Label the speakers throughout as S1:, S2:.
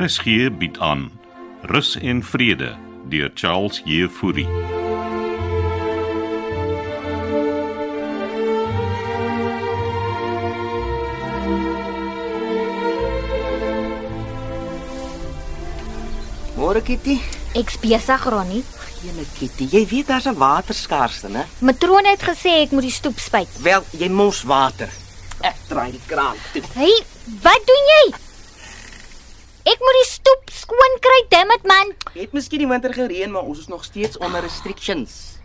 S1: RSG bied aan Rus en Vrede deur Charles Jefouri.
S2: Môre Kitty.
S3: Ek's besig, Ronnie.
S2: Jene Kitty, jy weet daar's 'n waterskaarste, né?
S3: Matroon het gesê ek moet die stoep spuit.
S2: Wel, jy mors water. Ek draai die kraan toe.
S3: Hey, wat doen jy? Ek moet die stoep skoon kry, dammit man.
S2: Het miskien die winter gereën, maar ons is nog steeds onder restrictions.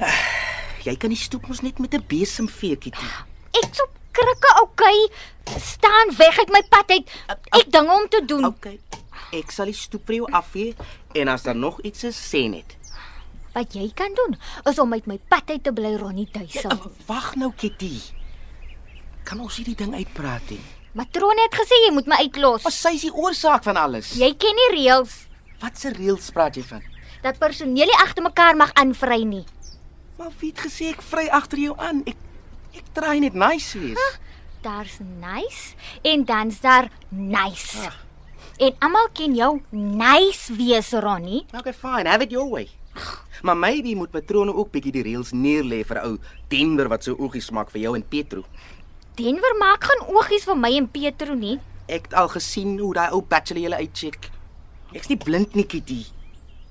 S2: Ah, Jy kan die stoep mos net met 'n besem vee, Kitty.
S3: Ek's op krikke, okay. Staan weg uit my pad uit. Ek ding om te doen.
S2: OK. Ek sal die stoep vir jou afvee en as daar nog iets is, sê net.
S3: Wat jy kan doen is om uit my pad uit te bly, Ronnie Duisel.
S2: Uh, Wag nou, Kitty. Kan ons hierdie ding uitpraat nie?
S3: Matroon het gesê jy moet my
S2: Maar
S3: uitlos.
S2: sy is die oorsaak van alles.
S3: Jy ken die reëls
S2: Wat se reëls praat jy van?
S3: dat personeel nie agter mekaar mag aanvry nie.
S2: Maar wie het gesê ek vry agter jou aan? Ek ek draai net nice wees.
S3: Daar's nice en dan's daar nice. En almal ken jou nice wees, Ronnie.
S2: Nou, Okay, fine. Have it your way. Maar maybe moet matrone ook bietjie die reëls neerlê vir ou Denver wat so oogies maak vir jou en Petro.
S3: Denver maak gaan oogies vir my en Petro nie.
S2: Ek het al gesien hoe daai ou bachelor julle uitcheck. Ek's nie blind nie, Kitty.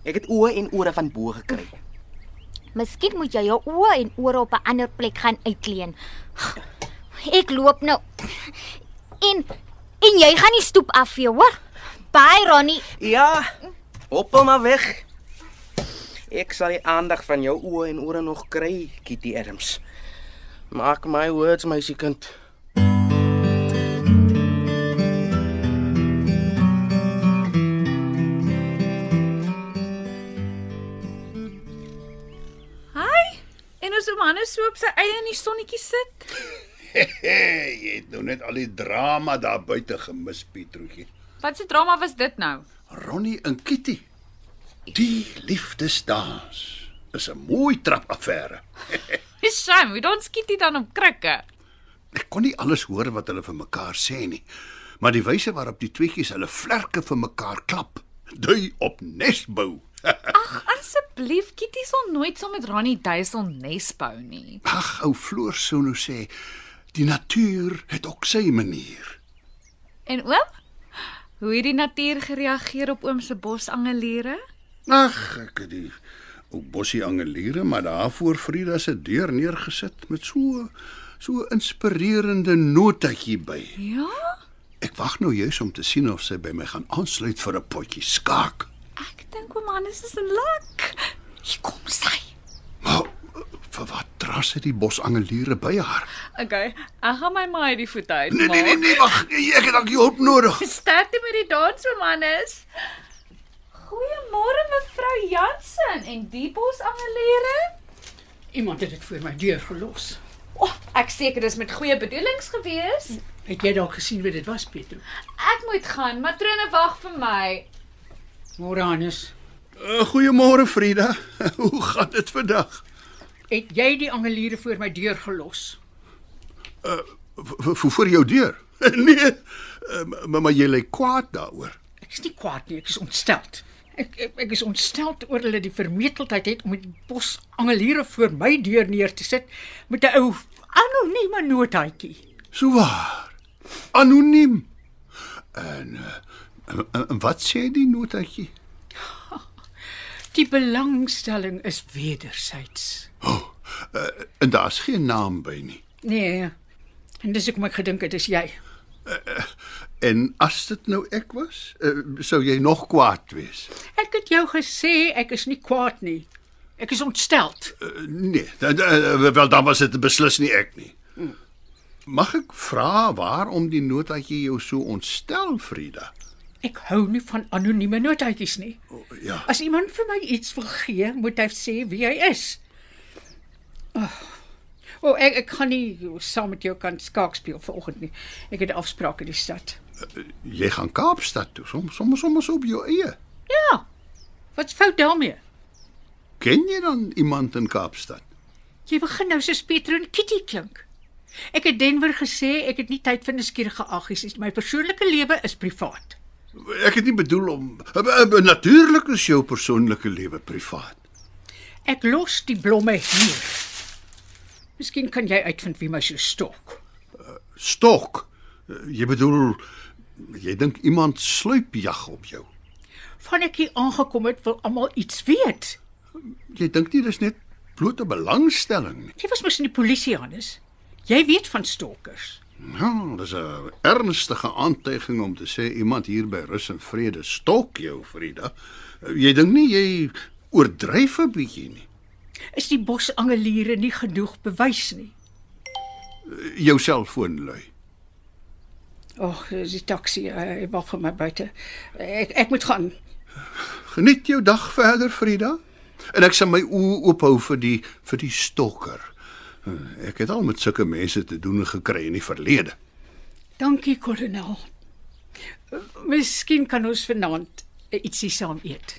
S2: Ek het oë en ore van bo gekry.
S3: Miskien moet jy jou oë en ore op 'n ander plek gaan uitleen. Ek loop nou. En en jy gaan nie stoep af vir hoor. Bye Ronnie.
S2: Ja. Hoppel maar weg. Ek sal die aandag van jou oë en ore nog kry, Kitty Adams. Maak my words, meisiekind.
S4: En as Oman is so op sy eie in die sonnetjie sit.
S5: Hey, jy het nou net al die drama daar buite gemis, Pietroetjie.
S4: Wat 'n drama was dit nou?
S5: Ronnie en Kitty. Die liefdesdans is 'n mooi trapaffære.
S4: Dis shame, hoe dan skiet dit dan op krikke.
S5: Ek kon nie alles hoor wat hulle vir mekaar sê nie, maar die wyse waarop die tweetjies hulle vlerke vir mekaar klap, dui op nesbou.
S4: Ag asseblief, Kitty sal nooit saam met Ronnie Duisel nes bou nie.
S5: Ag, ou Floor sou nou sê, die natuur het ook sy manier.
S4: En oom? Hoe het die natuur gereageer op oom se bosangeliere?
S5: Ag, ek het die ou bossie angeliere, maar daarvoor Frida se deur neergesit met so so 'n inspirerende notetjie by.
S4: Ja,
S5: Ek wag nou juis om te sien of sy by my gaan aansluit vir 'n potjie skaak.
S4: ek dink Oman is in lak. Hier kom sy.
S5: Maar vir wat dras sy die bosangeliere by haar?
S4: Okay, ek gaan my ma uit die voet uit
S5: Nee nee nee, nee wag, nee, ek het dalk hulp nodig.
S4: Sterkte met die dans, Omanus. Goeiemôre mevrou Jansen en die bosangeliere.
S6: Iemand het dit voor my deur gelos.
S4: O, oh, ek seker dis met goeie bedoelings gewees.
S6: Het jy dalk gesien wie dit was, Pietro?
S4: Ek moet gaan, matrone wag vir my.
S6: Moranus,
S5: Uh, goeiemôre Frida. Hoe gaan dit vandag?
S6: het jy die angeliere voor my deur gelos?
S5: V v- voor jou deur? nee. Uh, maar, maar jy lê kwaad daaroor.
S6: Ek is nie kwaad nie, ek is ontsteld. Ek ek, ek is ontsteld oor hulle die vermetelheid het om die bos angeliere voor my deur neer te sit met 'n ou anonieme notaatjie.
S5: So waar. Anoniem. En, eh, en, en wat sê die notatjie?
S6: Die belangstelling is wedersyds.
S5: En daar's geen naam by nie.
S6: Nee. En dis hoekom ek gedink het dis jy.
S5: En as dit nou ek was, uh, sou jy nog kwaad wees.
S6: Ek het jou gesê ek is nie kwaad nie. Ek is ontsteld.
S5: Uh, nee, da, da, wel dan was dit beslis nie ek nie. Mag ek vra waarom die notatjie jou so ontstel, Frida?
S6: Ek hou nie van anonieme notaatjies nie.
S5: O, Ja.
S6: As iemand vir my iets wil gee, moet hy sê wie hy is. O, oh, ek ek gaan nie saam met jou kan skaak speel vanoggend nie. Ek het 'n afspraak in die stad.
S5: Jy gaan Kaapstad toe, soms soms soms op jou eie.
S6: Ja. Wat's fout daarmee?
S5: Ken jy dan iemand in Kaapstad?
S6: Jy begin nou soos Pietro en Kitty klink. Ek het Denver gesê ek het nie tyd vir nuuskierige aggies nie. My persoonlike lewe is privaat.
S5: Ek het nie bedoel om eh, natuurlik is jou persoonlike lewe privaat.
S6: Ek los die blomme hier. Miskien kan jy uitvind wie my so stok.
S5: Stok. Eh, Jy bedoel jy dink iemand sluip jag op jou.
S6: Van ek hier aangekom het, wil almal iets weet.
S5: Jy dink nie dis net blote belangstelling nie.
S6: Jy was mos in die polisie, Hannes. Jy weet van stalkers.
S5: Ja, dis 'n ernstige aantuiging om te sê iemand hier by Rus en Vrede stok jou, Frida. Eh, Jy dink nie jy oordryf 'n bietjie nie.
S6: Is die bosangeliere nie genoeg bewys nie?
S5: Eh, Jou selfoon lui.
S6: Ag, dis die taxi. Hy wag vir my buite. Ek ek moet gaan.
S5: Geniet jou dag verder, Frida. En ek sal my oë oophou vir die vir die stokker. Eh, Ek het al met sulke mense te doen gekry in die verlede.
S6: Dankie, kolonel. Miskien kan ons vanaand eh, ietsie saam eet.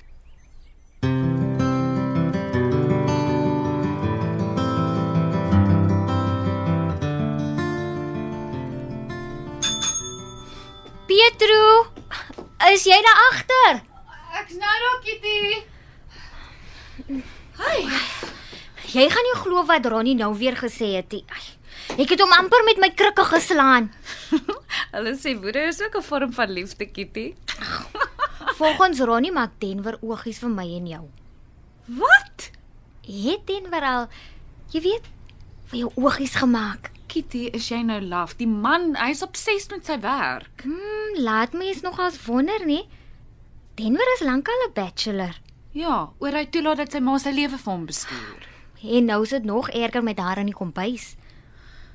S3: Pietro, is jy daar agter?
S4: Ek's nou daar, Kitty.
S3: Jy gaan nie glo wat Ronnie nou weer gesê het nie. Ai, Ek het hom amper met my krikke geslaan.
S4: Hulle sê woede is ook 'n vorm van liefde, Kitty.
S3: Volgens Ronnie maak Denver oogies vir my en jou.
S4: Wat?
S3: Het Denver al, jy weet, vir jou oogies gemaak.
S4: Kitty, is jy nou laf? Die man, hy's obsessed met sy werk.
S3: Hmm, laat mens nogals wonder, nê? Denver is lankal 'n bachelor
S4: Ja, oor hy toelaat dat sy ma sy lewe vir hom bestuur.
S3: en nou is dit nog erger met haar in die kombuis.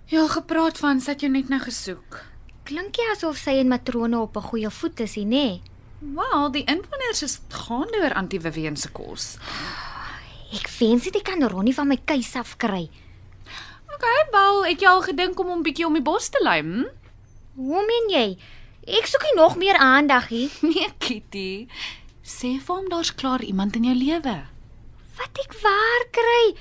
S4: Ja, gepraat van sy het jou net nou gesoek.
S3: Klink jy asof sy en matrone op 'n goeie voet is, nie, nee. nê?
S4: Wel, die inwoners is gaande oor Antiewe Ween se kos.
S3: Ek wens dit ek kan Ronnie van my keus af kry.
S4: Okay, wel, het jy al gedink om hom bietjie om die bos te lei? Hm?
S3: Hoe meen jy? Ek soek nie nog meer aandag hier.
S4: Nee, Kitty. Sê vir hom daar's klaar iemand in jou lewe.
S3: Wat ek waar kry?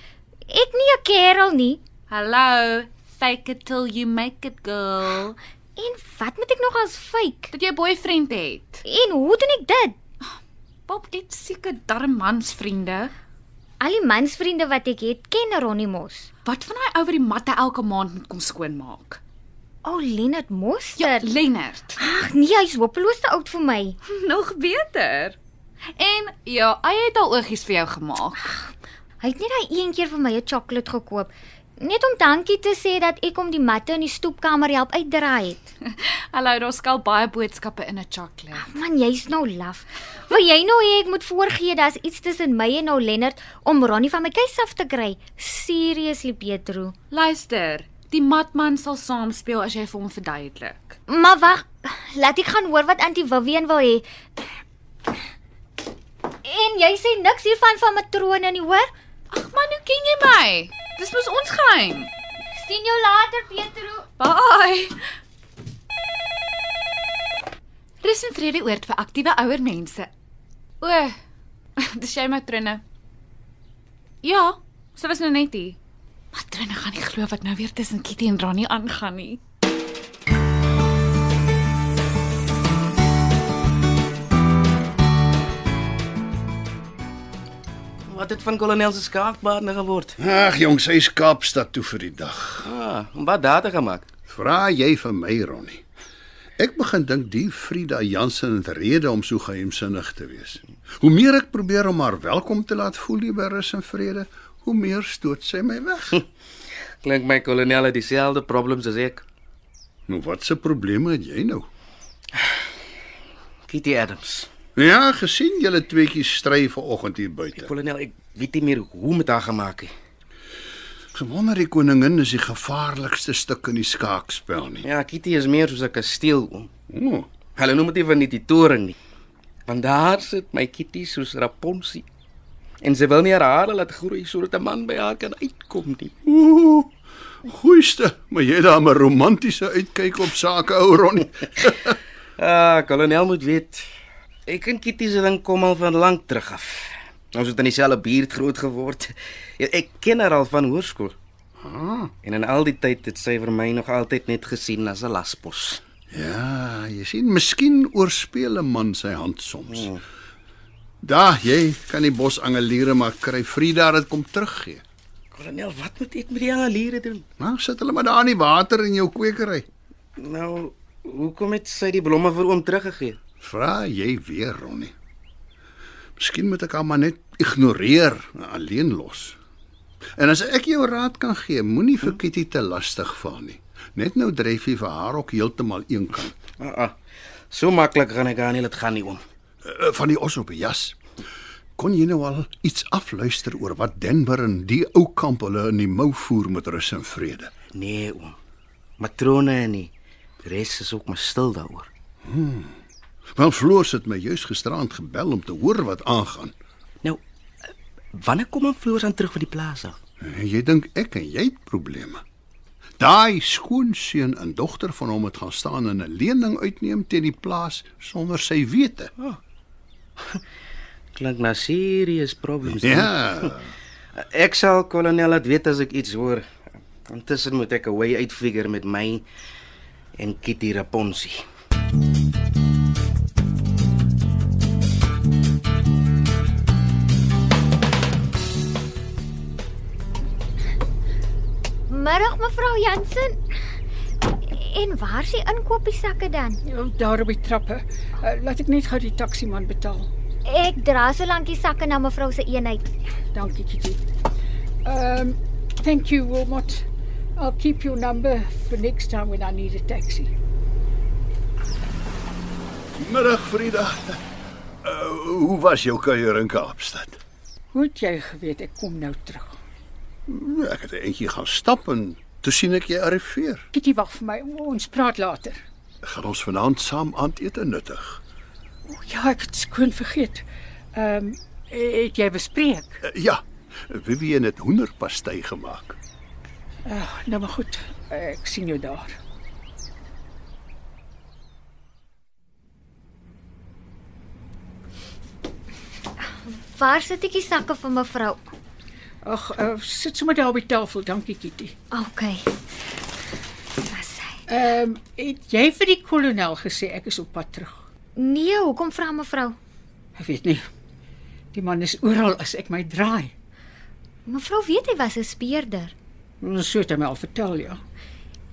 S3: Ek nie 'n kerel nie.
S4: Hallo, fake it till you make it, girl.
S3: En wat moet ek nog as fake?
S4: Dat jy 'n boyfriend het.
S3: En hoe doen ek dit?
S4: Pop, dit seker darm mansvriende.
S3: Al die mansvriende wat ek het, ken Ronnie mos.
S4: Wat van daai ou wat die matte elke maand moet kom skoonmaak? Ja,
S3: O, oh, Leonard Moster.
S4: Lennard.
S3: Ag nee, hy's hopeloos te oud vir my.
S4: Nog beter. En ja, hy het al oogies vir jou gemaak.
S3: Hy het net daai een keer vir my 'n sjokolade gekoop. Net om dankie te sê dat ek hom die matte in die stoepkamer help uitdraai het.
S4: Hallo, daar skel baie boodskappe in 'n chocolate.
S3: Man, jy's nou laf. Wil jy nou hê ek moet voorgee daar's iets tussen my en nou Lennard om Ronnie van my keuse af te kry? Seriously, Pietro.
S4: Luister, die matman sal saam speel as jy vir hom verduidelik.
S3: Maar wag, laat ek gaan hoor wat Auntie Vivian wil hê. En jy sê niks hiervan van matrone nie, hoor?
S4: Ag man, hoe ken jy my? Dis mos ons geheim.
S3: sien jou later, Pietro.
S4: Bye. Rus en vrede oort vir aktiewe ouer mense. O, dis jy matrone. Ja, sy was nou net hier. Matrone gaan nie glo wat nou weer tussen Kitty en Ronnie aangaan nie.
S2: Wat het van kolonel se skaakbaarne geword?
S5: Ag jong, sy's Kaapstad toe vir die dag.
S2: Ah, om wat daar te gemaak.
S5: Vra jy vir my, Ronnie? Ek begin dink die Frida Jansen het rede om so geheimsinnig te wees. Hoe meer ek probeer om haar welkom te laat voel hier by Rus en Vrede, hoe meer stoot sy my weg.
S2: Klink my kolonel het dieselfde problems as ek.
S5: nou wat se probleme het jy nou?
S2: Kitty Adams.
S5: Ja, gesien julle tweeetjies stry vanoggend hier buite.
S2: Kolonel, ek weet nie meer hoe met haar gemaak het.
S5: Gewonder die koningin is die gevaarlikste stuk in die skaakspel nie.
S2: Ja, Kitty is meer soos 'n kasteel.
S5: O,
S2: Hulle noem dit nie van nie die toring nie. Want daar sit my Kitty soos Rapunzel. En sy wil nie haar hare laat groei sodat 'n man by haar kan uitkom nie.
S5: Ooh, goeiste, maar jy het daar 'n romantiese uitkyk op sake, ou Ronnie.
S2: Ah, kolonel moet weet. Ek en Kitty se ding kom al van lank terug af. Ons het in dieselfde buurt groot geword. Ja, Ek ken haar al van hoërskool. En in al die tyd het sy vir my nog altyd net gesien as 'n laspos.
S5: Ja, jy sien, miskien oorspeel 'n man sy hand soms. Oh. Daar, jy kan die bosangeliere maar kry. Frida, dit kom teruggee.
S2: Kolonel, wat moet ek met die angeliere doen?
S5: Nou sit hulle maar daar in die water in jou kwekery.
S2: Nou, hoekom het sy die blomme vir oom teruggegee?
S5: Vra jy weer, Ronnie. Miskien moet ek hom maar net ignoreer, en alleen los. En as ek jou raad kan gee, moenie vir Kitty te lastig val nie. Net nou dryf jy vir haar ook heeltemal eenkant.
S2: Ah, ah. So maklik gaan ek haar nie laat gaan nie, oom.
S5: Eh, van die os op die jas. Kon jy nou al iets afluister oor wat Denver en die ou kamp hulle in die mou voer met rus en vrede?
S2: Nee, oom. Matrone en die res is ook maar stil daaroor.
S5: Wel Floors het my juis gisteraand gebel om te hoor wat aangaan.
S2: Nou, eh, wanneer kom hom Floors aan terug van die plaas af?
S5: En jy dink ek en jy het probleme. Daai skoonseun en dogter van hom het gaan staan en 'n lening uitneem teen die plaas sonder sy wete.
S2: Klink na serious problems.
S5: Ja.
S2: Ek sal kolonel laat weet as ek iets hoor. Intussen moet ek 'n way uitfigure met my en Kitty Raponsi.
S3: Middag mevrou Jansen. En waar is die inkopiesakke dan?
S6: Ja, Daar op die trappe. Eh, Laat ek net gou die taxi man betaal.
S3: Ek dra so lank die sakke na mevrou se eenheid.
S6: Dankie, Kitty. Um thank you, Wilmot. I'll keep your number for next time when I need a taxi.
S5: Middag Frida. Uh, hoe was jou kuier in Kaapstad?
S6: Hoe het jy geweet ek kom nou terug?
S5: Ek het 'n eentjie gaan stap en toe sien ek jy arriveer.
S6: Kitty wag vir my. Ons praat later.
S5: Gaan ons vanaand saam aandete nuttig?
S6: O ja, ek het skoon vergeet. Ehm um, het jy bespreek?
S5: Uh, ja. Vivienne het hoenderpastei gemaak.
S6: Ag, nou maar goed. Ek sien jou daar.
S3: Waar sit ek die sakke vir mevrou?
S6: Ag, uh, sit sommer daar op die tafel. Dankie, Kitty.
S3: OK. Was hy?
S6: Ehm um, het jy vir die kolonel gesê ek is op pad terug?
S3: Nee, hoekom vra mevrou?
S6: Ek weet nie. Die man is oral as ek my draai.
S3: Mevrou weet hy was 'n speurder.
S6: Ons sou dit my al vertel, ja.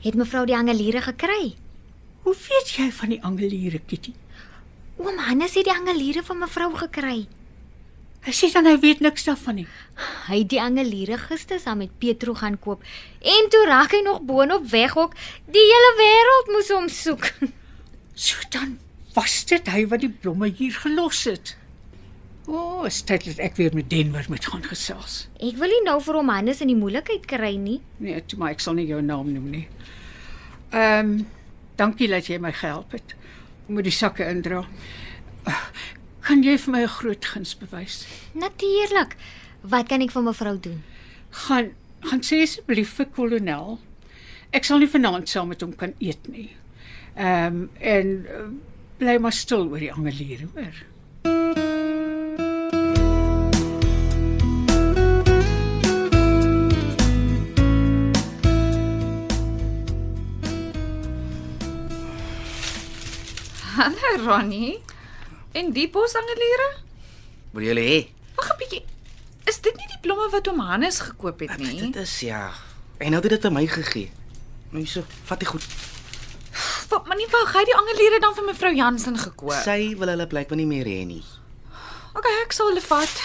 S3: Het mevrou die angeliere gekry?
S6: Hoe weet jy van die angeliere, Kitty?
S3: Oom Hannes het die angeliere van mevrou gekry.
S6: Hy sê dan hy weet niks daarvan nie.
S3: Hy het die angeliere gister saam met Petro gaan koop en toe raak hy nog boonop weghok. Die hele wêreld moes hom soek.
S6: So dan was dit hy wat die blomme hier gelos het. O, oh, is tyd dat ek weer met Denver moet gaan gesels.
S3: Ek wil nie nou vir hom Hannes in die moeilikheid kry nie.
S6: Nee, toe maar ek sal nie jou naam noem nie. Ehm, um, dankie dat jy my gehelp het om met die sakke indra. Ah, Kan jy vir my 'n groot guns bewys?
S3: Natuurlik. Wat kan ek vir mevrou doen?
S6: Gaan gaan sê asseblief vir kolonel. Ek sal nie vanaand saam met hom kan eet nie. Ehm um, en uh, bly maar stil oor die angeliere, hoor.
S4: Hallo Ronnie. En die bosangeliere?
S2: Wil julle hê?
S4: Wag 'n bietjie. Is dit nie die blomme wat oom Hannes gekoop het nie?
S2: Dit is ja. En nou het dit aan my gegee. Nou so, vat dit goed.
S4: Wat maar nie wou hy die angeliere dan vir mevrou Jansen gekoop.
S2: Sy wil hulle plek maar nie meer hê nie.
S4: Okay, ek sal hulle vat.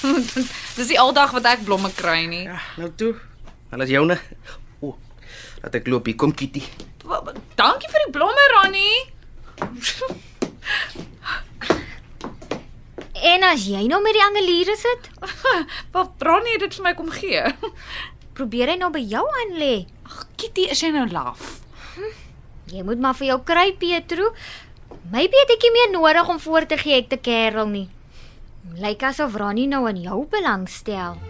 S4: Dis die aldag wat ek blomme kry nie.
S2: Ja, nou toe. Hulle is joune. O, laat ek loop hier. Kom Kitty.
S4: Wa- wa- Dankie vir die blomme Ronnie.
S3: En as jy nou met die angeliere sit,
S4: Wat Ronnie het dit vir my kom gee.
S3: probeer hy nou by jou aan lê.
S4: Ag Kitty, is jy nou laf?
S3: Jy moet maar vir jou kry, Petro. Maybe het ek nie meer nodig om voor te gee ek te kerel nie. Lyk asof Ronnie nou aan jou belang stel.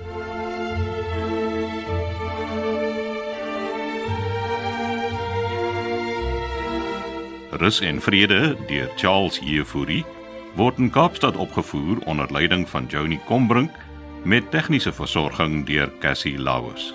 S1: Rus en Vrede deur Charles Jefouri word in Kaapstad opgevoer onder leiding van Johnny Combrink met tegniese versorging deur Cassie Lauers.